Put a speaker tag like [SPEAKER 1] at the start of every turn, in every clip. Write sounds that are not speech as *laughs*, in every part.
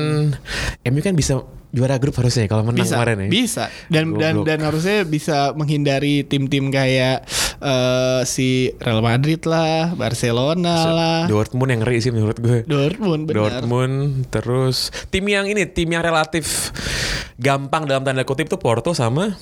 [SPEAKER 1] MU kan bisa juara grup harusnya kalau menang
[SPEAKER 2] bisa
[SPEAKER 1] kemarin ya.
[SPEAKER 2] bisa dan dan
[SPEAKER 1] Goblok.
[SPEAKER 2] dan harusnya bisa menghindari tim-tim kayak eh, si Real Madrid lah Barcelona lah
[SPEAKER 1] Dortmund yang ngeri sih menurut gue.
[SPEAKER 2] Dortmund benar
[SPEAKER 1] Dortmund, terus tim yang ini tim yang relatif gampang dalam tanda kutip tuh Porto sama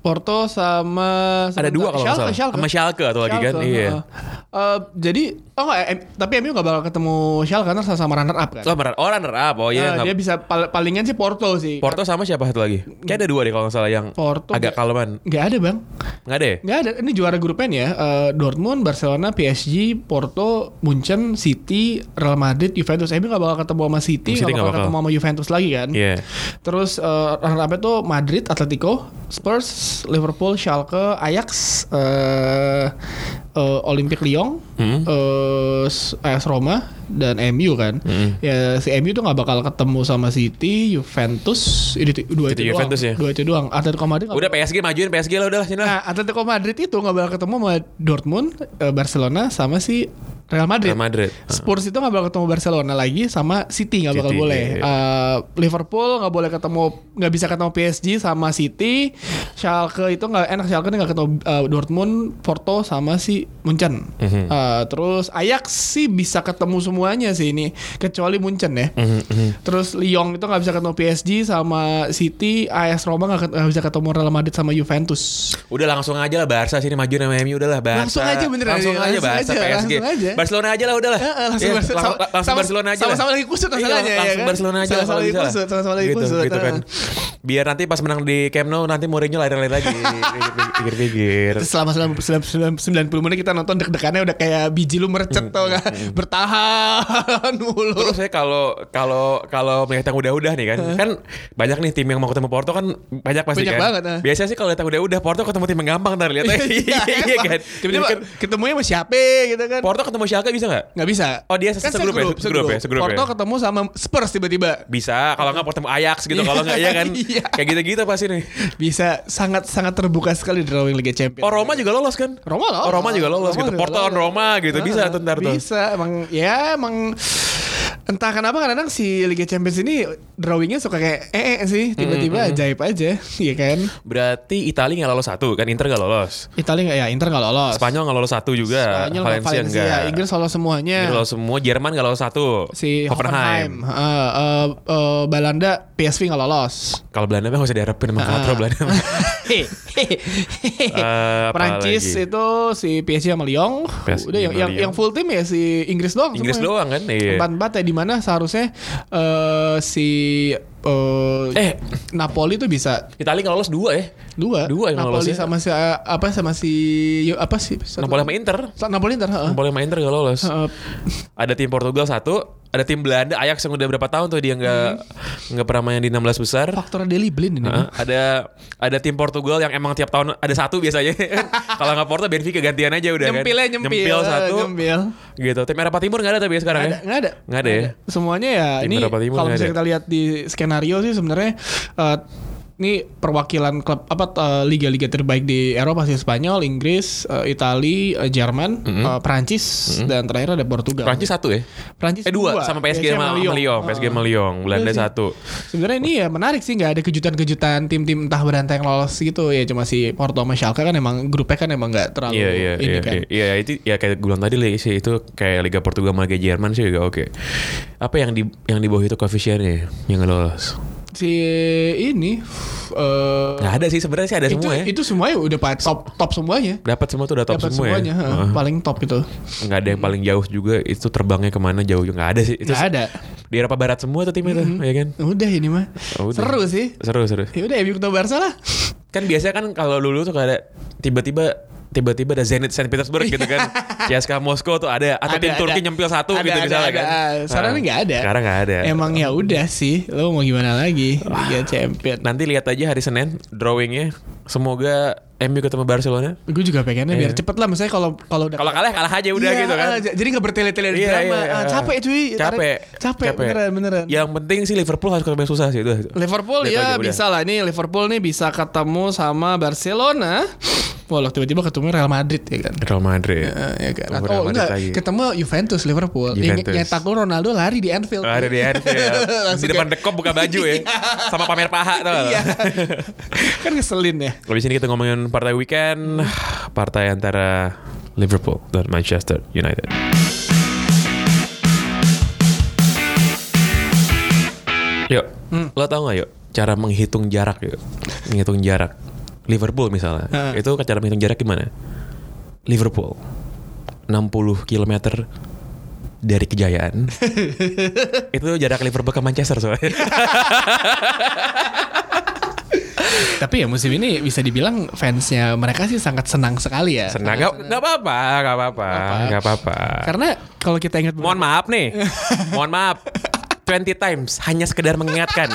[SPEAKER 2] Porto sama
[SPEAKER 1] ada
[SPEAKER 2] sebentar,
[SPEAKER 1] dua kalau nggak salah.
[SPEAKER 2] Schalke, Schalke.
[SPEAKER 1] Sama Schalke atau lagi kan?
[SPEAKER 2] Schalke,
[SPEAKER 1] Iya.
[SPEAKER 2] heeh. Eh, jadi oh enggak, em- tapi MU nggak bakal ketemu Schalke karena sama runner up kan
[SPEAKER 1] Oh, runner- oh runner up. Oh
[SPEAKER 2] Eh,
[SPEAKER 1] iya. nggak-
[SPEAKER 2] dia bisa pal- palingan sih Porto sih
[SPEAKER 1] Porto sama siapa satu lagi? Kayak ada dua deh kalau nggak salah yang
[SPEAKER 2] Porto
[SPEAKER 1] agak kaleman.
[SPEAKER 2] nggak ada bang
[SPEAKER 1] Nggak ada ya?
[SPEAKER 2] nggak ada ini juara grup N ya Eh, Dortmund Barcelona PSG Porto Munchen City Real Madrid Juventus MU nggak bakal ketemu sama City nggak bakal,
[SPEAKER 1] City nggak bakal.
[SPEAKER 2] ketemu sama Juventus lagi kan
[SPEAKER 1] Iya.
[SPEAKER 2] terus eh, runner up itu Madrid Atletico Spurs Liverpool Schalke Ajax eh eh, Olympique Lyon
[SPEAKER 1] Hmm.
[SPEAKER 2] eh, S- AS Roma dan MU kan
[SPEAKER 1] Hmm.
[SPEAKER 2] ya si MU tuh nggak bakal ketemu sama City Juventus ini tuh- dua itu,
[SPEAKER 1] Itu Juventus
[SPEAKER 2] doang
[SPEAKER 1] ya?
[SPEAKER 2] dua itu doang Atletico Madrid nggak
[SPEAKER 1] Udah PSG majuin PSG lah udah lah sini lah.
[SPEAKER 2] Nah, Atletico Madrid itu nggak bakal ketemu sama Dortmund, eh, Barcelona sama si Real Madrid.
[SPEAKER 1] Real Madrid.
[SPEAKER 2] Spurs itu nggak bakal ketemu Barcelona lagi sama City nggak bakal
[SPEAKER 1] City,
[SPEAKER 2] boleh.
[SPEAKER 1] iya, iya.
[SPEAKER 2] Eh, Liverpool nggak boleh ketemu nggak bisa ketemu PSG sama City. Schalke itu nggak enak Schalke nggak ketemu eh, Dortmund, Porto sama si Munchen.
[SPEAKER 1] Mhm.
[SPEAKER 2] Eh, terus Ajax sih bisa ketemu semuanya sih ini kecuali Munchen ya.
[SPEAKER 1] Mhm,
[SPEAKER 2] Terus Lyon itu nggak bisa ketemu PSG sama City, AS Roma nggak ket- nggak bisa ketemu Real Madrid sama Juventus.
[SPEAKER 1] Udah langsung aja lah Barca sini majuin sama MU udah lah Barca.
[SPEAKER 2] Langsung aja beneran,
[SPEAKER 1] Langsung
[SPEAKER 2] iya,
[SPEAKER 1] aja
[SPEAKER 2] langsung
[SPEAKER 1] Barca
[SPEAKER 2] aja,
[SPEAKER 1] PSG.
[SPEAKER 2] langsung aja.
[SPEAKER 1] Barcelona aja lah udah lah.
[SPEAKER 2] Heeh, langsung
[SPEAKER 1] Iya,
[SPEAKER 2] Barcelona-
[SPEAKER 1] lang-
[SPEAKER 2] sama-
[SPEAKER 1] langsung
[SPEAKER 2] sama-
[SPEAKER 1] Barcelona aja. lah.
[SPEAKER 2] sama-sama lagi kusut
[SPEAKER 1] Iya,
[SPEAKER 2] masalahnya, ya
[SPEAKER 1] Langsung
[SPEAKER 2] kan?
[SPEAKER 1] Barcelona aja lah
[SPEAKER 2] Sama-sama
[SPEAKER 1] kalau
[SPEAKER 2] lagi
[SPEAKER 1] bisa lah.
[SPEAKER 2] kusut, sama-sama lagi
[SPEAKER 1] Gitu,
[SPEAKER 2] kusut,
[SPEAKER 1] Gitu kan. Biar nanti pas menang di Camp Nou nanti Mourinho lari-lari
[SPEAKER 2] *laughs*
[SPEAKER 1] lagi. Pikir-pikir.
[SPEAKER 2] Selama 90 90 menit kita nonton deg-degannya udah kayak biji lu merecet tau gak? Bertahan *laughs* mulu.
[SPEAKER 1] Hmm, Terus saya kalau kalau kalau yang udah-udah nih kan, kan banyak nih tim yang mau ketemu Porto kan banyak pasti
[SPEAKER 2] Banyak
[SPEAKER 1] kan.
[SPEAKER 2] banget, ah.
[SPEAKER 1] Biasanya sih kalau datang udah-udah Porto ketemu tim yang gampang ntar
[SPEAKER 2] *laughs*
[SPEAKER 1] lihat. Iya kan.
[SPEAKER 2] Tiba-tiba
[SPEAKER 1] Kan
[SPEAKER 2] ketemunya sama siapa gitu kan?
[SPEAKER 1] Porto ketemu Schalke bisa nggak?
[SPEAKER 2] Nggak bisa. Kan
[SPEAKER 1] Oh, dia se- segrup ya? Segrup ya? Segrup
[SPEAKER 2] Porto
[SPEAKER 1] ya?
[SPEAKER 2] ketemu sama Spurs tiba-tiba.
[SPEAKER 1] Bisa, kalau nggak ketemu Ajax gitu, kalau nggak ya kan.
[SPEAKER 2] *laughs* Iya.
[SPEAKER 1] Kayak gitu-gitu pasti nih.
[SPEAKER 2] Bisa sangat-sangat terbuka sekali drawing Liga Champions.
[SPEAKER 1] Oh Roma juga lolos kan?
[SPEAKER 2] Roma lolos.
[SPEAKER 1] Oh Roma juga lolos
[SPEAKER 2] Roma
[SPEAKER 1] gitu.
[SPEAKER 2] juga
[SPEAKER 1] Porto lawan
[SPEAKER 2] lolos.
[SPEAKER 1] Roma gitu. Bisa tuh ntar tuh.
[SPEAKER 2] Bisa emang ya emang entah kenapa kadang-kadang si Liga Champions ini drawingnya suka kayak eh, eh sih
[SPEAKER 1] Hmm,
[SPEAKER 2] tiba-tiba ajaib aja, iya kan?
[SPEAKER 1] Berarti Italia nggak lolos satu kan Inter nggak lolos.
[SPEAKER 2] Italia nggak ya Inter nggak lolos.
[SPEAKER 1] Spanyol nggak lolos satu juga.
[SPEAKER 2] Spanyol Valencia, Valencia ya,
[SPEAKER 1] nggak.
[SPEAKER 2] Inggris lolos semuanya.
[SPEAKER 1] Iya, Inggris lolos semua. Jerman nggak lolos satu.
[SPEAKER 2] si Hoffenheim, Eh, eh, eh, Belanda, PSV nggak lolos.
[SPEAKER 1] Kalau Belanda mah nggak usah diharapin emang
[SPEAKER 2] Ah.
[SPEAKER 1] katro Belanda.
[SPEAKER 2] *laughs*
[SPEAKER 1] Eh, *laughs* apa
[SPEAKER 2] Prancis
[SPEAKER 1] lagi?
[SPEAKER 2] itu si PSG sama Lyon.
[SPEAKER 1] PSG
[SPEAKER 2] Udah yang,
[SPEAKER 1] sama
[SPEAKER 2] yang,
[SPEAKER 1] Lyon.
[SPEAKER 2] yang full tim ya si Inggris doang.
[SPEAKER 1] Inggris
[SPEAKER 2] semua.
[SPEAKER 1] doang kan? Iya.
[SPEAKER 2] Empat empat ya di mana seharusnya eh, si eh
[SPEAKER 1] Eh.
[SPEAKER 2] Napoli tuh bisa
[SPEAKER 1] Italia nggak lolos dua ya.
[SPEAKER 2] dua.
[SPEAKER 1] Dua yang
[SPEAKER 2] Napoli
[SPEAKER 1] lolosnya.
[SPEAKER 2] sama si eh, apa sama si yo, apa sih? satu-
[SPEAKER 1] Napoli sama Inter.
[SPEAKER 2] Sa- Napoli ntar. heeh. Eh,
[SPEAKER 1] Napoli sama Inter nggak lolos.
[SPEAKER 2] Heeh.
[SPEAKER 1] Ada tim Portugal satu, ada tim Belanda Ajax yang udah berapa tahun tuh dia nggak nggak pernah main di 16 besar.
[SPEAKER 2] Faktor Deli Blind Hmm. ini.
[SPEAKER 1] Heeh, ada ada tim Portugal yang emang tiap tahun ada satu
[SPEAKER 2] *laughs*
[SPEAKER 1] biasanya. Kalau nggak Porto Benfica gantian aja udah
[SPEAKER 2] Nyempilnya
[SPEAKER 1] kan.
[SPEAKER 2] nyempil.
[SPEAKER 1] Nyempil satu.
[SPEAKER 2] Nyempil.
[SPEAKER 1] Gitu. Tim Eropa Timur nggak ada tapi ya sekarang
[SPEAKER 2] Nggak
[SPEAKER 1] ya.
[SPEAKER 2] ada, nggak ada.
[SPEAKER 1] Nggak ada ya?
[SPEAKER 2] Semuanya ya
[SPEAKER 1] Tim
[SPEAKER 2] ini
[SPEAKER 1] Eropa Timur
[SPEAKER 2] kalau
[SPEAKER 1] nggak
[SPEAKER 2] misalnya
[SPEAKER 1] ada.
[SPEAKER 2] kita lihat di skenario sih sebenarnya eh, ini perwakilan klub apa eh, liga-liga terbaik di Eropa sih Spanyol, Inggris, eh, Itali, eh, Jerman,
[SPEAKER 1] Mm-hmm.
[SPEAKER 2] eh, Perancis dan terakhir ada Portugal.
[SPEAKER 1] Prancis satu ya?
[SPEAKER 2] Prancis
[SPEAKER 1] Mm-hmm. Eh dua, sama PSG sama, sama Lyon. PSG sama Lyon.
[SPEAKER 2] Iya
[SPEAKER 1] Belanda
[SPEAKER 2] sih.
[SPEAKER 1] satu.
[SPEAKER 2] Sebenarnya ini ya menarik sih nggak ada kejutan-kejutan tim-tim entah berantai yang lolos gitu ya cuma si Porto sama Schalke kan emang grupnya kan emang nggak terlalu
[SPEAKER 1] Iya iya
[SPEAKER 2] ini
[SPEAKER 1] iya
[SPEAKER 2] kan.
[SPEAKER 1] iya. iya itu ya kayak gue bilang tadi lah sih itu kayak Liga Portugal sama Liga Jerman sih juga oke. Apa yang di yang di bawah itu koefisiennya yang nggak lolos?
[SPEAKER 2] Si ini eh
[SPEAKER 1] Nggak ada sih sebenarnya sih ada
[SPEAKER 2] itu
[SPEAKER 1] semua ya.
[SPEAKER 2] itu semuanya udah pa- top top semuanya.
[SPEAKER 1] Dapat semua tuh udah top
[SPEAKER 2] dapat
[SPEAKER 1] semua ya.
[SPEAKER 2] semuanya heeh,
[SPEAKER 1] Heeh.
[SPEAKER 2] paling top itu
[SPEAKER 1] nggak ada yang paling jauh juga itu terbangnya kemana jauh juga nggak ada sih itu
[SPEAKER 2] nggak ada
[SPEAKER 1] di Eropa Barat semua tuh timnya tuh ya kan
[SPEAKER 2] udah ini mah
[SPEAKER 1] Oh, udah.
[SPEAKER 2] seru sih
[SPEAKER 1] seru seru
[SPEAKER 2] ya udah MU ketemu Barca lah
[SPEAKER 1] kan biasanya kan kalau dulu tuh ada tiba-tiba tiba-tiba ada Zenit Saint Petersburg gitu kan CSKA Moskow tuh ada
[SPEAKER 2] Iya.
[SPEAKER 1] atau
[SPEAKER 2] Ada,
[SPEAKER 1] tim
[SPEAKER 2] ada.
[SPEAKER 1] Turki nyempil satu
[SPEAKER 2] Ada,
[SPEAKER 1] gitu
[SPEAKER 2] ada,
[SPEAKER 1] misalnya
[SPEAKER 2] ada. Ah,
[SPEAKER 1] kan
[SPEAKER 2] Sekarang
[SPEAKER 1] Nah,
[SPEAKER 2] nggak ada.
[SPEAKER 1] sekarang nggak ada
[SPEAKER 2] emang ya udah sih lo mau gimana lagi Liga Champion
[SPEAKER 1] nanti lihat aja hari Senin drawingnya semoga MU ketemu Barcelona
[SPEAKER 2] gue juga pengennya biar
[SPEAKER 1] Iya.
[SPEAKER 2] cepet lah misalnya kalau kalau udah
[SPEAKER 1] kalau kalah kalah aja udah
[SPEAKER 2] Iya,
[SPEAKER 1] gitu kan
[SPEAKER 2] ah, j- jadi nggak bertele-tele di
[SPEAKER 1] Iya,
[SPEAKER 2] drama
[SPEAKER 1] iya, iya.
[SPEAKER 2] Ah, capek cuy
[SPEAKER 1] capek
[SPEAKER 2] Tarik- capek, beneran beneran
[SPEAKER 1] yang penting sih Liverpool harus ketemu yang susah sih itu
[SPEAKER 2] Liverpool
[SPEAKER 1] Lihat aja,
[SPEAKER 2] ya
[SPEAKER 1] udah.
[SPEAKER 2] bisa lah ini Liverpool nih bisa ketemu sama Barcelona walau tiba-tiba ketemu Real Madrid ya kan
[SPEAKER 1] Real Madrid
[SPEAKER 2] Eh, ya kan.
[SPEAKER 1] Ketemu Real
[SPEAKER 2] Oh
[SPEAKER 1] Madrid
[SPEAKER 2] enggak,
[SPEAKER 1] lagi.
[SPEAKER 2] ketemu Juventus Liverpool. Yang
[SPEAKER 1] Juventus.
[SPEAKER 2] nyetak gol Ronaldo lari di Anfield.
[SPEAKER 1] Lari Ah, di Anfield. di
[SPEAKER 2] *laughs* Langsung
[SPEAKER 1] depan
[SPEAKER 2] kayak-
[SPEAKER 1] dekop buka baju
[SPEAKER 2] *laughs*
[SPEAKER 1] ya. Sama pamer paha tuh. *laughs*
[SPEAKER 2] Iya. kan ngeselin ya.
[SPEAKER 1] Kalau di sini kita ngomongin partai weekend, partai antara Liverpool dan Manchester United. Yuk, lo tau gak yuk cara menghitung jarak yuk? Menghitung jarak. Liverpool misalnya,
[SPEAKER 2] Heeh.
[SPEAKER 1] itu kan cara menghitung jarak gimana? Liverpool, 60 km dari kejayaan. *laughs* itu jarak Liverpool ke Manchester soalnya.
[SPEAKER 2] Tapi ya musim ini bisa dibilang fansnya mereka sih sangat senang sekali ya.
[SPEAKER 1] *laughs* Senang nggak? Nggak apa-apa, Iya. nggak apa-apa, nggak apa-apa.
[SPEAKER 2] Karena kalau kita ingat
[SPEAKER 1] Mohon maaf
[SPEAKER 2] *laughs*
[SPEAKER 1] nih, mohon maaf. 20 times hanya
[SPEAKER 2] *laughs*
[SPEAKER 1] sekedar mengingatkan.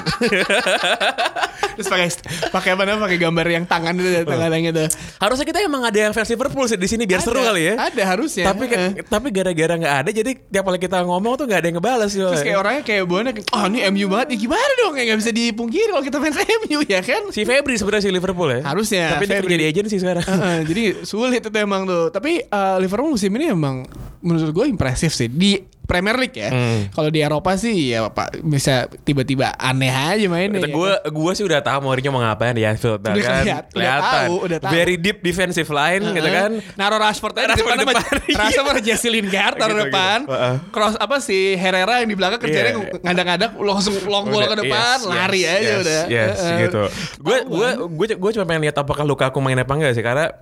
[SPEAKER 2] terus pakai pakai apa namanya pakai gambar yang tangan itu ya, tangan yang itu.
[SPEAKER 1] Harusnya kita emang ada yang versi Liverpool sih di sini biar Oh. seru
[SPEAKER 2] Ada,
[SPEAKER 1] kali ya.
[SPEAKER 2] Ada harusnya. Eh.
[SPEAKER 1] Tapi ke-
[SPEAKER 2] Heeh.
[SPEAKER 1] tapi gara-gara nggak ada jadi tiap kali kita ngomong tuh nggak ada yang ngebales gitu.
[SPEAKER 2] Terus kayak orangnya kayak buahnya Oh ini MU banget ya, Gimana dong ya Gak bisa dipungkiri Kalau kita fans MU ya kan
[SPEAKER 1] Si Febri sebenarnya si Liverpool ya.
[SPEAKER 2] Harusnya,
[SPEAKER 1] Tapi dia
[SPEAKER 2] Febri. Eh,
[SPEAKER 1] kerja di agency sekarang. *laughs*
[SPEAKER 2] Heeh, jadi sulit itu emang tuh. Tapi eh, Liverpool musim ini emang menurut gue impresif sih di Premier League ya. Kalau di Eropa sih ya Pak bisa tiba-tiba aneh aja mainnya. ya kan?
[SPEAKER 1] Kata gue, gue sih udah tahu Mourinho mau ngapain di Anfield
[SPEAKER 2] Udah
[SPEAKER 1] kan.
[SPEAKER 2] keliat- udah tahu, udah tahu.
[SPEAKER 1] Very deep defensive line gitu kan.
[SPEAKER 2] Naro Rashford aja di
[SPEAKER 1] Rashford
[SPEAKER 2] depan,
[SPEAKER 1] di
[SPEAKER 2] sama-
[SPEAKER 1] depan, iya.
[SPEAKER 2] *laughs* Rashford sama Jesse Lingard taruh
[SPEAKER 1] Gitu,
[SPEAKER 2] depan.
[SPEAKER 1] gitu. Heeh.
[SPEAKER 2] Cross apa si Herrera yang di belakang kerjanya
[SPEAKER 1] Iya, iya.
[SPEAKER 2] ngadak-ngadak langsung long ball
[SPEAKER 1] Udah,
[SPEAKER 2] ke depan,
[SPEAKER 1] yes,
[SPEAKER 2] lari
[SPEAKER 1] yes,
[SPEAKER 2] aja
[SPEAKER 1] yes,
[SPEAKER 2] udah.
[SPEAKER 1] Yes,
[SPEAKER 2] Heeh. Oh,
[SPEAKER 1] gitu. Gue gue gue gue cuma pengen lihat apakah luka aku main apa enggak sih karena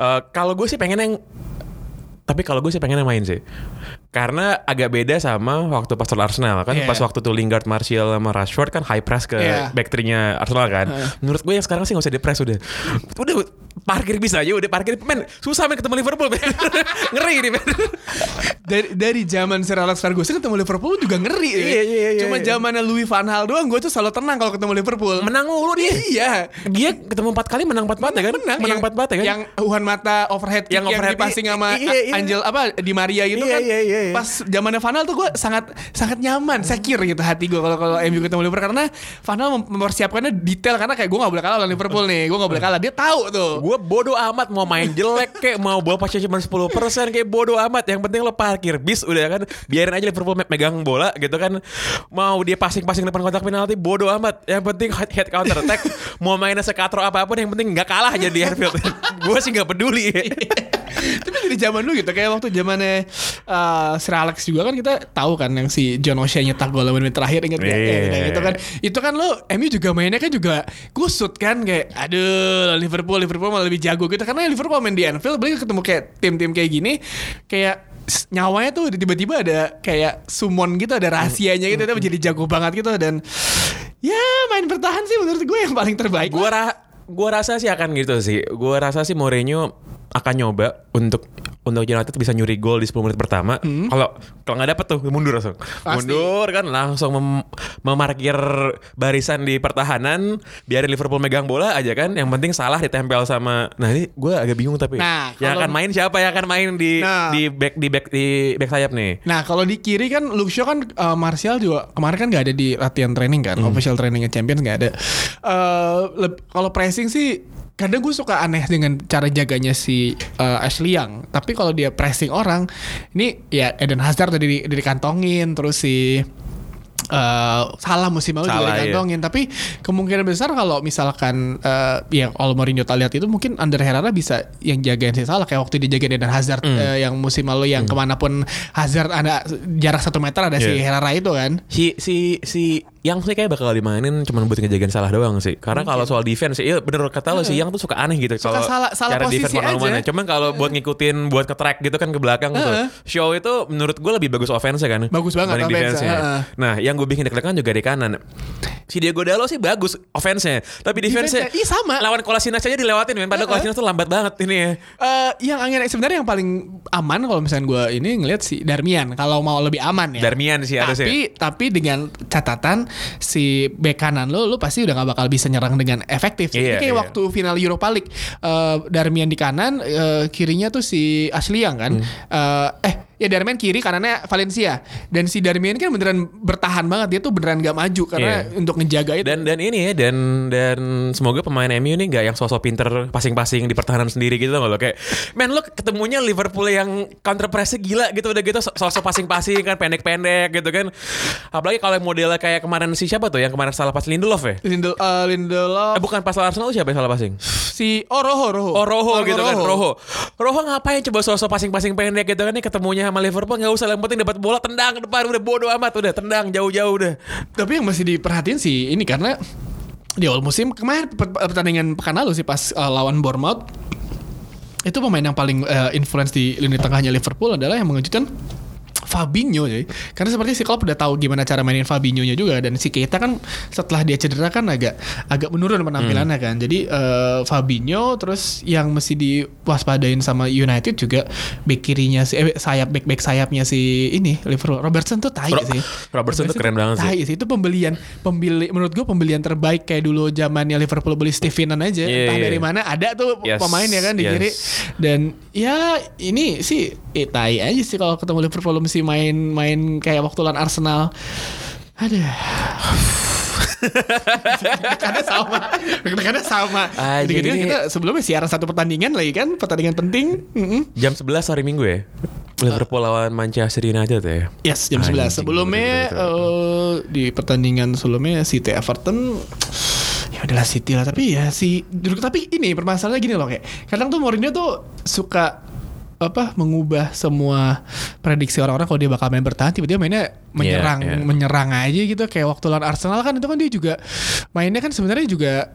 [SPEAKER 1] eh, kalau gue sih pengen yang tapi kalau gue sih pengen yang main sih. Karena agak beda sama waktu pas lawan Arsenal kan
[SPEAKER 2] Iya.
[SPEAKER 1] pas waktu tuh Lingard, Martial sama Rashford kan high press ke
[SPEAKER 2] Iya.
[SPEAKER 1] back three-nya Arsenal kan. Menurut gue yang sekarang sih nggak usah di press udah. Udah parkir bisa aja udah parkir men susah men ketemu Liverpool men. *laughs* Ngeri nih men.
[SPEAKER 2] dari dari zaman Sir Alex Ferguson ketemu Liverpool juga ngeri. ya.
[SPEAKER 1] Iya, iya, iya,
[SPEAKER 2] Cuma
[SPEAKER 1] iya.
[SPEAKER 2] zamannya Louis van Gaal doang gue tuh selalu tenang kalau ketemu Liverpool.
[SPEAKER 1] Menang mulu dia.
[SPEAKER 2] Iya.
[SPEAKER 1] Dia ketemu 4 kali menang 4 4 kan?
[SPEAKER 2] Menang,
[SPEAKER 1] menang
[SPEAKER 2] yang-
[SPEAKER 1] 4 4 kan?
[SPEAKER 2] Yang Uhan Mata overhead kick
[SPEAKER 1] Yang
[SPEAKER 2] yang,
[SPEAKER 1] overhead
[SPEAKER 2] dipassing
[SPEAKER 1] kick.
[SPEAKER 2] sama
[SPEAKER 1] Iya, iya.
[SPEAKER 2] Angel apa di Maria gitu
[SPEAKER 1] Iya,
[SPEAKER 2] kan.
[SPEAKER 1] iya, iya, iya.
[SPEAKER 2] Pas zamannya Van Gaal tuh gue sangat sangat nyaman, secure gitu hati gue kalau kalau MU ketemu Liverpool karena Van Gaal mem- mempersiapkannya detail karena kayak gue gak boleh kalah lawan Liverpool nih. Gue gak boleh
[SPEAKER 1] Iya.
[SPEAKER 2] kalah. Dia tahu tuh.
[SPEAKER 1] Gue bodoh amat mau main jelek kayak mau bola pasnya cuma 10% kayak bodoh amat. Yang penting lo parkir bis udah kan. Biarin aja Liverpool me- megang bola gitu kan. Mau dia passing-passing depan kotak penalti bodoh amat. Yang penting head, head counter attack. mau mainnya sekatro apapun yang penting nggak kalah aja di Anfield. *laughs* gue sih nggak peduli.
[SPEAKER 2] Tapi dari zaman dulu gitu kayak waktu zamannya eh, Sir Alex juga kan kita tahu kan yang si John O'Shea nyetak gol menit terakhir inget nggak?
[SPEAKER 1] Iya.
[SPEAKER 2] Kayak gitu kan. Itu kan lo MU juga mainnya kan juga kusut kan kayak aduh Liverpool Liverpool malah lebih jago gitu karena Liverpool main di Anfield beli ketemu kayak tim-tim kayak gini kayak s- nyawanya tuh tiba-tiba ada kayak summon gitu ada rahasianya
[SPEAKER 1] Mm,
[SPEAKER 2] gitu tapi jadi jago banget gitu dan ya main bertahan sih menurut gue yang paling terbaik
[SPEAKER 1] Gue ra gua rasa sih akan gitu sih. Gue rasa sih Mourinho akan nyoba untuk untuk United bisa nyuri gol di 10 menit pertama. Kalau kalau nggak dapet tuh mundur langsung.
[SPEAKER 2] Hmm. Pasti.
[SPEAKER 1] Mundur kan langsung mem- memarkir barisan di pertahanan, biarin Liverpool megang bola aja kan. Yang penting salah ditempel sama. Nah ini gue agak bingung tapi
[SPEAKER 2] Nah,
[SPEAKER 1] yang
[SPEAKER 2] kalau-
[SPEAKER 1] akan main siapa yang akan main di
[SPEAKER 2] Nah.
[SPEAKER 1] di back di back di back sayap nih.
[SPEAKER 2] Nah kalau di kiri kan Luke Shaw kan eh, Martial juga kemarin kan nggak ada di latihan training kan,
[SPEAKER 1] Hmm.
[SPEAKER 2] official trainingnya Champions nggak ada. Eh, leb- kalau pressing sih kadang gue suka aneh dengan cara jaganya si eh, Ashley Young. Tapi kalau dia pressing orang, ini ya Eden Hazard tadi di, di- dikantongin terus si eh, salah musim lalu
[SPEAKER 1] Salah,
[SPEAKER 2] juga
[SPEAKER 1] iya.
[SPEAKER 2] dikantongin tapi kemungkinan besar kalau misalkan eh, yang All Mourinho tak lihat itu mungkin Under Herrera bisa yang jagain si salah kayak waktu dia jagain Eden Hazard eh, yang musim lalu yang kemanapun Hazard ada jarak satu meter ada si
[SPEAKER 1] Iya.
[SPEAKER 2] Herrera itu kan
[SPEAKER 1] Si si si yang sih kayak bakal dimainin cuman buat ngejagain salah doang sih. Karena kalau soal defense iya bener kata lo sih yang tuh suka aneh gitu
[SPEAKER 2] Suka
[SPEAKER 1] kalau
[SPEAKER 2] salah- salah
[SPEAKER 1] cara
[SPEAKER 2] posisi
[SPEAKER 1] defense mana-mana.
[SPEAKER 2] aja.
[SPEAKER 1] Cuman kalau buat ngikutin buat ke track gitu kan ke belakang tuh. Show itu menurut gue lebih bagus offense kan.
[SPEAKER 2] Bagus banget
[SPEAKER 1] dibanding
[SPEAKER 2] offense-nya,
[SPEAKER 1] defense-nya.
[SPEAKER 2] heeh.
[SPEAKER 1] Nah, yang gue bikin deg-degan juga di kanan. Si Diego Dalo sih bagus offense-nya, tapi defense-nya
[SPEAKER 2] Defense-nya, iya sama.
[SPEAKER 1] Lawan Kolasinac aja dilewatin men. Padahal Kolasinac tuh lambat banget ini ya.
[SPEAKER 2] Eh, yang angin sebenarnya yang paling aman kalau misalnya gue ini ngelihat si Darmian kalau mau lebih aman ya
[SPEAKER 1] Darmian sih harusnya.
[SPEAKER 2] tapi tapi dengan catatan si bek kanan lo lo pasti udah nggak bakal bisa nyerang dengan efektif sih. Ini
[SPEAKER 1] Iya,
[SPEAKER 2] kayak
[SPEAKER 1] iya.
[SPEAKER 2] waktu final Europa League eh, Darmian di kanan eh, kirinya tuh si Ashley Young
[SPEAKER 1] Hmm.
[SPEAKER 2] kan Eh, eh ya Darmian kiri kanannya Valencia dan si Darmian kan beneran bertahan banget dia tuh beneran gak maju karena
[SPEAKER 1] Iya.
[SPEAKER 2] untuk ngejaga itu
[SPEAKER 1] dan dan ini ya dan dan semoga pemain MU ini nggak yang sosok pinter passing-passing di pertahanan sendiri gitu loh kayak men lo ketemunya Liverpool yang counter pressnya gila gitu udah gitu so- sosok passing-passing kan pendek-pendek gitu kan apalagi kalau yang modelnya kayak kemarin si siapa tuh yang kemarin salah pas Lindelof ya
[SPEAKER 2] Lindel, eh, Lindelof
[SPEAKER 1] Eh, bukan pas lawan Arsenal siapa yang salah passing
[SPEAKER 2] si oh Roho Roho
[SPEAKER 1] Oh Roho gitu kan
[SPEAKER 2] Roho.
[SPEAKER 1] Roho Roho ngapain coba sosok passing-passing pendek gitu kan Ini ketemunya sama Liverpool Gak usah yang penting dapat bola Tendang ke depan Udah bodo amat Udah tendang jauh-jauh udah
[SPEAKER 2] Tapi yang masih diperhatiin sih ini karena di awal musim kemarin per- per- pertandingan pekan lalu sih pas uh, lawan Bournemouth itu pemain yang paling uh, influence di lini tengahnya Liverpool adalah yang mengejutkan Fabinho ya. Karena seperti si Klopp udah tahu gimana cara mainin Fabinho-nya juga dan si Keita kan setelah dia cedera kan agak agak menurun penampilannya
[SPEAKER 1] Hmm.
[SPEAKER 2] kan. Jadi eh, Fabinho terus yang mesti diwaspadain sama United juga back kirinya si eh, sayap back back sayapnya si ini Liverpool Robertson tuh tai
[SPEAKER 1] Ro-
[SPEAKER 2] sih.
[SPEAKER 1] Robertson tuh keren banget sih.
[SPEAKER 2] tai sih. Itu pembelian pembeli menurut gua pembelian terbaik kayak dulu zamannya Liverpool beli Stevenan aja.
[SPEAKER 1] Iya,
[SPEAKER 2] Entah
[SPEAKER 1] iya.
[SPEAKER 2] dari mana ada tuh
[SPEAKER 1] Yes,
[SPEAKER 2] pemain ya kan di
[SPEAKER 1] yes.
[SPEAKER 2] kiri. Dan ya ini sih eh, tai aja sih kalau ketemu Liverpool mesti main-main kayak waktu lawan Arsenal. Aduh. Karena sama, karena sama.
[SPEAKER 1] Ah,
[SPEAKER 2] Jadi gitu kan
[SPEAKER 1] jadi ini-
[SPEAKER 2] kita sebelumnya siaran satu pertandingan lagi kan, pertandingan penting. Mm-mm.
[SPEAKER 1] Jam 11 hari Minggu ya Liverpool lawan Manchester United ya
[SPEAKER 2] Yes, jam 11.
[SPEAKER 1] Anjing,
[SPEAKER 2] Sebelumnya
[SPEAKER 1] betul, betul,
[SPEAKER 2] eh, di pertandingan sebelumnya City Everton *sniffs* ya adalah City lah tapi ya si tapi ini permasalahannya gini loh kayak kadang tuh Mourinho tuh suka apa mengubah semua prediksi orang-orang kalau dia bakal main bertahan tiba-tiba mainnya menyerang
[SPEAKER 1] yeah.
[SPEAKER 2] menyerang aja gitu kayak waktu lawan Arsenal kan itu kan dia juga mainnya kan sebenarnya juga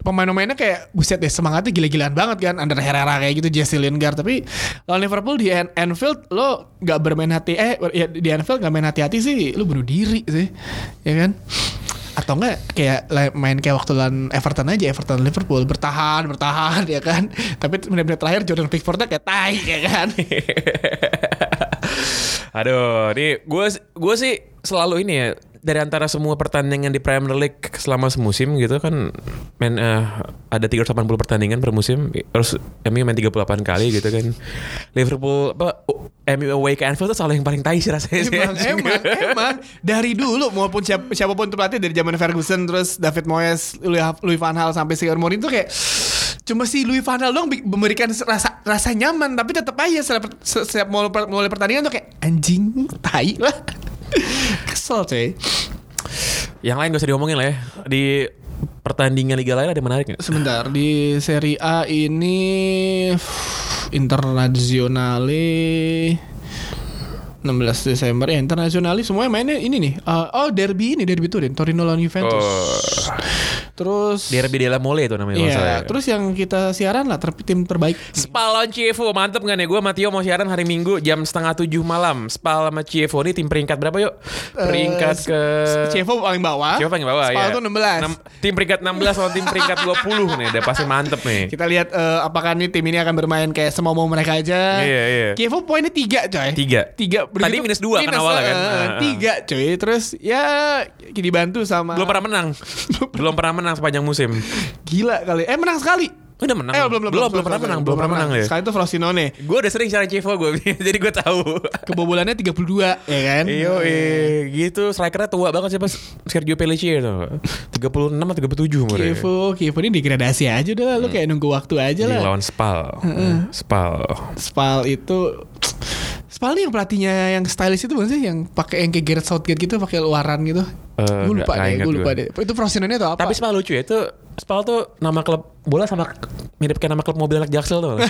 [SPEAKER 2] pemain-pemainnya kayak buset deh semangatnya gila-gilaan banget kan under Herrera kayak gitu Jesse Lingard tapi lawan Liverpool di An- Anfield lo nggak bermain hati eh ya, di Anfield nggak main hati-hati sih lo bunuh diri sih ya kan atau enggak kayak la- main kayak waktu lawan Everton aja Everton Liverpool bertahan bertahan *laughs* ya kan tapi menit-menit terakhir Jordan Pickfordnya kayak tai ya kan
[SPEAKER 1] Aduh, ini gue gue sih selalu ini ya dari antara semua pertandingan di Premier League selama semusim gitu kan main eh, ada 380 pertandingan per musim terus MU main 38 kali gitu kan Liverpool apa oh, MU away ke Anfield tuh selalu yang paling tai sih rasanya sih. *laughs*
[SPEAKER 2] Emang, emang, eh. emang. Dari dulu maupun siap, siapapun tuh pelatih dari zaman Ferguson terus David Moyes, Louis, Louis van Gaal sampai sekarang Mourinho tuh kayak cuma si Louis van Gaal dong bi- memberikan rasa rasa nyaman tapi tetap aja setiap, setiap mulai, per- mulai pertandingan tuh kayak anjing tai lah. *laughs* Kesel cuy.
[SPEAKER 1] Yang lain gak usah diomongin lah ya di pertandingan liga lain ada yang menarik nggak?
[SPEAKER 2] Sebentar di Serie A ini internasionale 16 Desember ya internasionali semuanya mainnya ini nih. Eh, oh derby ini derby Turin Torino lawan Juventus. Terus
[SPEAKER 1] Derby della Mole itu namanya kalau salah
[SPEAKER 2] Iya,
[SPEAKER 1] ya.
[SPEAKER 2] terus yang kita siaran lah ter- tim terbaik. eh,
[SPEAKER 1] Spal lawan Cievo mantep gak nih gue Matio mau siaran hari Minggu jam setengah tujuh malam Spal sama Cievo ini tim peringkat berapa yuk peringkat
[SPEAKER 2] Eh,
[SPEAKER 1] ke
[SPEAKER 2] Cevo paling bawah.
[SPEAKER 1] Cievo paling
[SPEAKER 2] ah?
[SPEAKER 1] bawah
[SPEAKER 2] Spal
[SPEAKER 1] ya
[SPEAKER 2] tuh 16.
[SPEAKER 1] Enam- tim peringkat 16 lawan tim
[SPEAKER 2] *laughs*
[SPEAKER 1] peringkat 20 nih udah pasti mantep nih
[SPEAKER 2] Kita lihat eh, apakah nih tim ini akan bermain kayak semau mau mereka aja.
[SPEAKER 1] Iya, iya.
[SPEAKER 2] Kievo poinnya tiga coy.
[SPEAKER 1] Tiga.
[SPEAKER 2] Tiga.
[SPEAKER 1] Tadi minus dua kan awalnya kan.
[SPEAKER 2] eh,
[SPEAKER 1] Ah, ah.
[SPEAKER 2] tiga coy. Terus ya dibantu sama.
[SPEAKER 1] belum pernah
[SPEAKER 2] *laughs*
[SPEAKER 1] menang belum pernah menang sepanjang musim
[SPEAKER 2] Gila kali. Eh menang sekali.
[SPEAKER 1] udah menang
[SPEAKER 2] Eh belum belum
[SPEAKER 1] belum,
[SPEAKER 2] sorry,
[SPEAKER 1] pernah
[SPEAKER 2] sorry,
[SPEAKER 1] menang belum pernah menang ya
[SPEAKER 2] Sekali itu Frosinone.
[SPEAKER 1] gue udah sering siaran Cievo gue *laughs* jadi gue tahu
[SPEAKER 2] Kebobolannya 32 ya kan.
[SPEAKER 1] Iyo, eh, gitu. Strikernya tua banget siapa? Sergio Pellicer tuh. 36 atau 37 umurnya.
[SPEAKER 2] Kievo, Kievo ini degradasi aja udah lah. Lu kayak nunggu waktu aja
[SPEAKER 1] Hmm. Jadi
[SPEAKER 2] lah.
[SPEAKER 1] lawan Spal. Spal.
[SPEAKER 2] Spal itu Spal nih yang pelatihnya yang stylish itu bukan sih yang pakai yang kayak Gareth Southgate gitu pakai luaran gitu.
[SPEAKER 1] Eh,
[SPEAKER 2] gue lupa
[SPEAKER 1] nggak- nggak
[SPEAKER 2] deh,
[SPEAKER 1] ingat
[SPEAKER 2] gue lupa
[SPEAKER 1] gue.
[SPEAKER 2] deh. Itu Frosinone atau apa?
[SPEAKER 1] Tapi Spal lucu ya itu Spal tuh nama klub bola sama mirip kayak nama klub mobil anak Jaksel
[SPEAKER 2] *laughs*
[SPEAKER 1] tuh.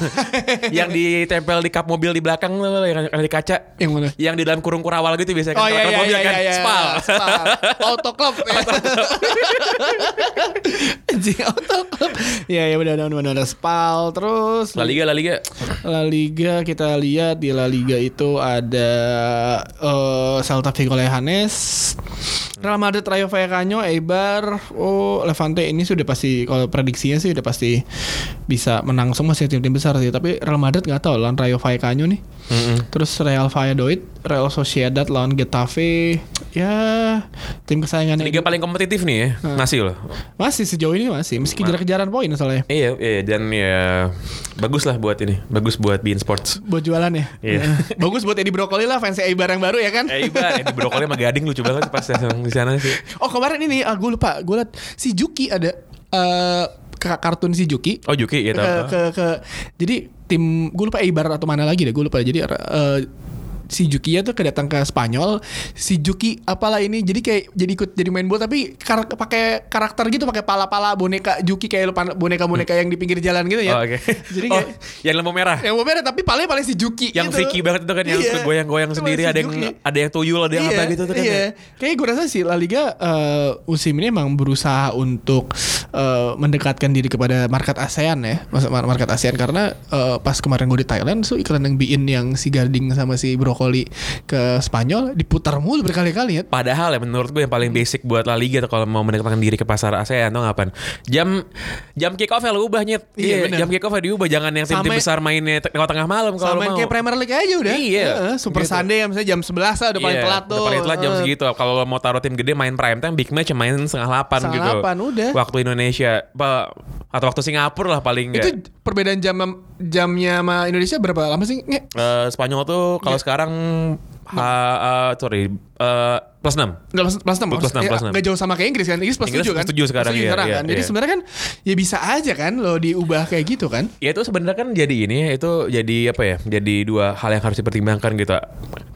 [SPEAKER 1] yang ditempel di kap mobil di belakang tuh yang ada di kaca.
[SPEAKER 2] yang mana?
[SPEAKER 1] Yang di dalam kurung kurawal gitu biasanya
[SPEAKER 2] Oh
[SPEAKER 1] kan
[SPEAKER 2] iya
[SPEAKER 1] klub
[SPEAKER 2] iya
[SPEAKER 1] mobil
[SPEAKER 2] iya
[SPEAKER 1] kan
[SPEAKER 2] iya. iya.
[SPEAKER 1] Spal.
[SPEAKER 2] Spal. Autoclub. ya. *laughs* Anjing autoclub. Iya iya benar benar benar Spal terus
[SPEAKER 1] La Liga La Liga.
[SPEAKER 2] La Liga kita lihat di La Liga itu ada eh, Celta Vigo Lejanes, Real Madrid Rayo Vallecano, Eibar, oh Levante ini sudah pasti kalau prediksinya sih udah pasti bisa menang semua sih tim-tim besar sih. Tapi Real Madrid nggak tahu lawan Rayo Vallecano nih. Terus Real Valladolid, Real Sociedad lawan Getafe, ya tim kesayangan
[SPEAKER 1] Liga paling kompetitif nih ya. Masih loh.
[SPEAKER 2] masih sejauh ini masih meski kejar-kejaran poin soalnya.
[SPEAKER 1] Iya, iya dan ya bagus lah buat ini. Bagus buat Bein Sports.
[SPEAKER 2] Buat jualan ya.
[SPEAKER 1] Iya.
[SPEAKER 2] *laughs* Bagus buat Edi Brokoli lah fans Eibar yang baru ya kan.
[SPEAKER 1] Eh Iba, eh, di brokoli sama gading lucu banget pas datang di sana sih.
[SPEAKER 2] Oh kemarin ini ah, gue lupa gue liat si Juki ada eh ka- kartun si Juki
[SPEAKER 1] Oh Juki ya
[SPEAKER 2] ke, Iya, ke ke jadi tim gue lupa Eibar atau mana lagi deh gue lupa jadi eh, si Juki ya tuh kedatang ke Spanyol si Juki apalah ini jadi kayak jadi ikut jadi main bola tapi kar- pakai karakter gitu pakai pala-pala boneka Juki kayak lu pan- boneka-boneka yang di pinggir jalan gitu ya
[SPEAKER 1] Hmm. Oh, oke.
[SPEAKER 2] *laughs* jadi
[SPEAKER 1] oh,
[SPEAKER 2] kayak Iya,
[SPEAKER 1] yang lampu merah.
[SPEAKER 2] yang gue merah tapi paling paling si Juki
[SPEAKER 1] yang
[SPEAKER 2] gitu.
[SPEAKER 1] Vicky banget itu kan yang
[SPEAKER 2] Iya.
[SPEAKER 1] goyang-goyang
[SPEAKER 2] Itu
[SPEAKER 1] sendiri
[SPEAKER 2] si
[SPEAKER 1] ada yang
[SPEAKER 2] Juki.
[SPEAKER 1] ada yang tuyul ada yang apa gitu tuh kan.
[SPEAKER 2] Iya. Kayaknya gue rasa sih La Liga eh, musim ini emang berusaha untuk eh, mendekatkan diri kepada market ASEAN ya, Mas- mar- market ASEAN karena eh, pas kemarin gue di Thailand tuh iklan yang bikin yang si Garding sama si Brokoli ke Spanyol diputar mulu berkali-kali ya.
[SPEAKER 1] Padahal ya menurut gue yang paling basic buat La Liga tuh kalau mau mendekatkan diri ke pasar ya, ASEAN atau ngapain. Jam jam kick off ya lu ubah nyet.
[SPEAKER 2] Iya, bener.
[SPEAKER 1] jam kick off ya diubah jangan yang tim-tim
[SPEAKER 2] Sama-
[SPEAKER 1] besar mainnya tengah-tengah malam kalau
[SPEAKER 2] Sama
[SPEAKER 1] lu mau.
[SPEAKER 2] kayak Premier League aja udah.
[SPEAKER 1] Iya.
[SPEAKER 2] Heeh, Super
[SPEAKER 1] Gitu.
[SPEAKER 2] Sunday yang misalnya jam 11 lah udah paling
[SPEAKER 1] Iya,
[SPEAKER 2] telat tuh. Eh.
[SPEAKER 1] udah paling telat jam
[SPEAKER 2] Heeh.
[SPEAKER 1] segitu. Kalau lo mau taruh tim gede main prime time big match ya main setengah delapan
[SPEAKER 2] Setengah
[SPEAKER 1] gitu.
[SPEAKER 2] delapan, udah.
[SPEAKER 1] Waktu Indonesia apa atau waktu Singapura lah paling ya.
[SPEAKER 2] Itu
[SPEAKER 1] enggak.
[SPEAKER 2] perbedaan jam jamnya sama Indonesia berapa lama sih? Nge?
[SPEAKER 1] Eh, Spanyol tuh kalau
[SPEAKER 2] Iya.
[SPEAKER 1] sekarang ha- eh, sorry eh, plus 6
[SPEAKER 2] Enggak plus, plus 6
[SPEAKER 1] Plus Oh, enam, plus enam.
[SPEAKER 2] Iya, jauh sama kayak Inggris kan Inggris plus
[SPEAKER 1] Inggris
[SPEAKER 2] 7 kan
[SPEAKER 1] plus tujuh sekarang, iya, iya,
[SPEAKER 2] kan? Jadi
[SPEAKER 1] iya.
[SPEAKER 2] sebenarnya kan Ya bisa aja kan Lo diubah kayak gitu kan
[SPEAKER 1] Ya itu sebenarnya kan jadi ini itu jadi apa ya? Jadi dua hal yang harus dipertimbangkan gitu.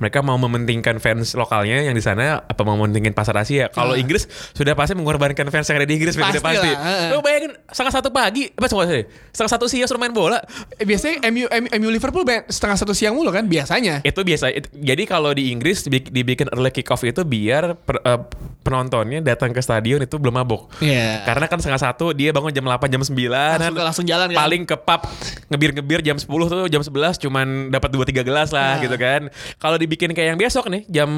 [SPEAKER 1] Mereka mau mementingkan fans lokalnya yang di sana apa mau mementingkan pasar Asia. Kalau Inggris sudah pasti mengorbankan fans yang ada di Inggris sudah
[SPEAKER 2] Nah. Pastilah,
[SPEAKER 1] pasti.
[SPEAKER 2] heeh.
[SPEAKER 1] Lo bayangin setengah satu pagi, apa sorry, setengah satu siang suruh main bola.
[SPEAKER 2] Eh, Biasanya MU, MU, MU Liverpool ben- Setengah satu siang mulu kan Biasanya
[SPEAKER 1] Itu biasa. it- jadi kalau di Inggris dibi- dibikin early kick off itu biar per- eh, penontonnya datang ke stadion itu belum mabuk.
[SPEAKER 2] Iya
[SPEAKER 1] Karena kan setengah satu dia bangun jam 8 jam 9
[SPEAKER 2] Langsung-
[SPEAKER 1] kan.
[SPEAKER 2] langsung jalan kan?
[SPEAKER 1] Paling ke pub ngebir-ngebir jam 10 tuh jam 11 cuman dapat 2 3 gelas lah
[SPEAKER 2] Nah.
[SPEAKER 1] gitu kan. Kalau dibikin kayak yang besok nih jam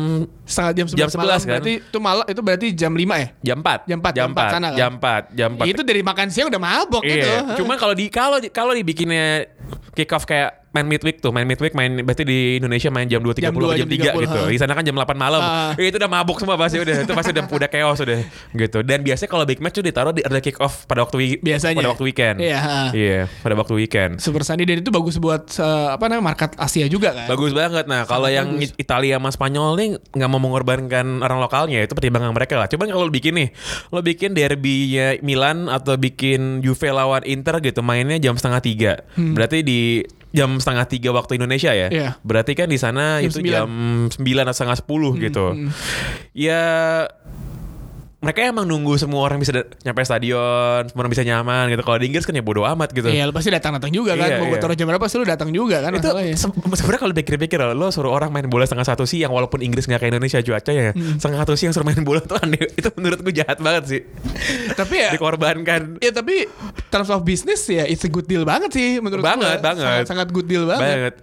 [SPEAKER 2] Setengah jam 11,
[SPEAKER 1] Jam 11 kan?
[SPEAKER 2] Berarti itu malam Itu berarti jam 5 ya
[SPEAKER 1] jam 4.
[SPEAKER 2] Jam 4,
[SPEAKER 1] jam
[SPEAKER 2] jam 4
[SPEAKER 1] 4.
[SPEAKER 2] sana kan?
[SPEAKER 1] Jam 4, jam 4.
[SPEAKER 2] Itu dari makan siang udah mabok gitu
[SPEAKER 1] Iya.
[SPEAKER 2] Heeh.
[SPEAKER 1] Cuma kalau di kalau di- kalau dibikinnya kick off kayak main midweek tuh, main midweek main berarti di Indonesia main jam 2.30
[SPEAKER 2] Jam dua,
[SPEAKER 1] atau jam
[SPEAKER 2] jam
[SPEAKER 1] 3
[SPEAKER 2] 30,
[SPEAKER 1] gitu.
[SPEAKER 2] ha.
[SPEAKER 1] Di sana kan jam 8 malam.
[SPEAKER 2] Ah.
[SPEAKER 1] Eh, itu udah mabuk semua pasti udah itu pasti udah udah chaos udah gitu. Dan biasanya kalau big match tuh ditaruh di early kick off pada waktu wi-
[SPEAKER 2] Biasanya.
[SPEAKER 1] pada waktu weekend.
[SPEAKER 2] Iya, ha.
[SPEAKER 1] Iya, pada waktu weekend.
[SPEAKER 2] Super Sunday Dan itu bagus buat eh, Apa namanya Market Asia juga kan
[SPEAKER 1] Bagus banget. Nah, kalau yang
[SPEAKER 2] bagus.
[SPEAKER 1] Italia sama Spanyol nih nggak mau mengorbankan orang lokalnya itu pertimbangan mereka lah. Cuman kalau lo bikin nih, lo bikin derbynya Milan atau bikin Juve lawan Inter gitu, mainnya jam setengah tiga. Berarti di jam setengah tiga waktu Indonesia ya.
[SPEAKER 2] Hmm. Iya.
[SPEAKER 1] Berarti kan di sana
[SPEAKER 2] Jam Hmm,
[SPEAKER 1] itu
[SPEAKER 2] sembilan.
[SPEAKER 1] jam sembilan atau setengah sepuluh gitu. Ya mereka emang nunggu semua orang bisa da- nyampe stadion, semua orang bisa nyaman gitu. Kalau di Inggris kan ya bodo amat gitu.
[SPEAKER 2] Iya, lu pasti datang-datang juga kan.
[SPEAKER 1] Iya,
[SPEAKER 2] Mau gue
[SPEAKER 1] iya.
[SPEAKER 2] taruh jam berapa sih lu datang juga kan
[SPEAKER 1] itu
[SPEAKER 2] masalahnya.
[SPEAKER 1] se- sebenarnya kalau dipikir-pikir lo suruh orang main bola setengah satu siang walaupun Inggris nggak kayak Indonesia cuaca ya
[SPEAKER 2] Hmm.
[SPEAKER 1] setengah satu siang suruh main bola tuh aneh *laughs* itu menurut gue jahat banget sih
[SPEAKER 2] Tapi ya
[SPEAKER 1] dikorbankan
[SPEAKER 2] Ya tapi terms of business ya it's a good deal banget sih menurut
[SPEAKER 1] Banget,
[SPEAKER 2] gua.
[SPEAKER 1] banget.
[SPEAKER 2] Sangat, sangat good deal Iya banget.
[SPEAKER 1] banget.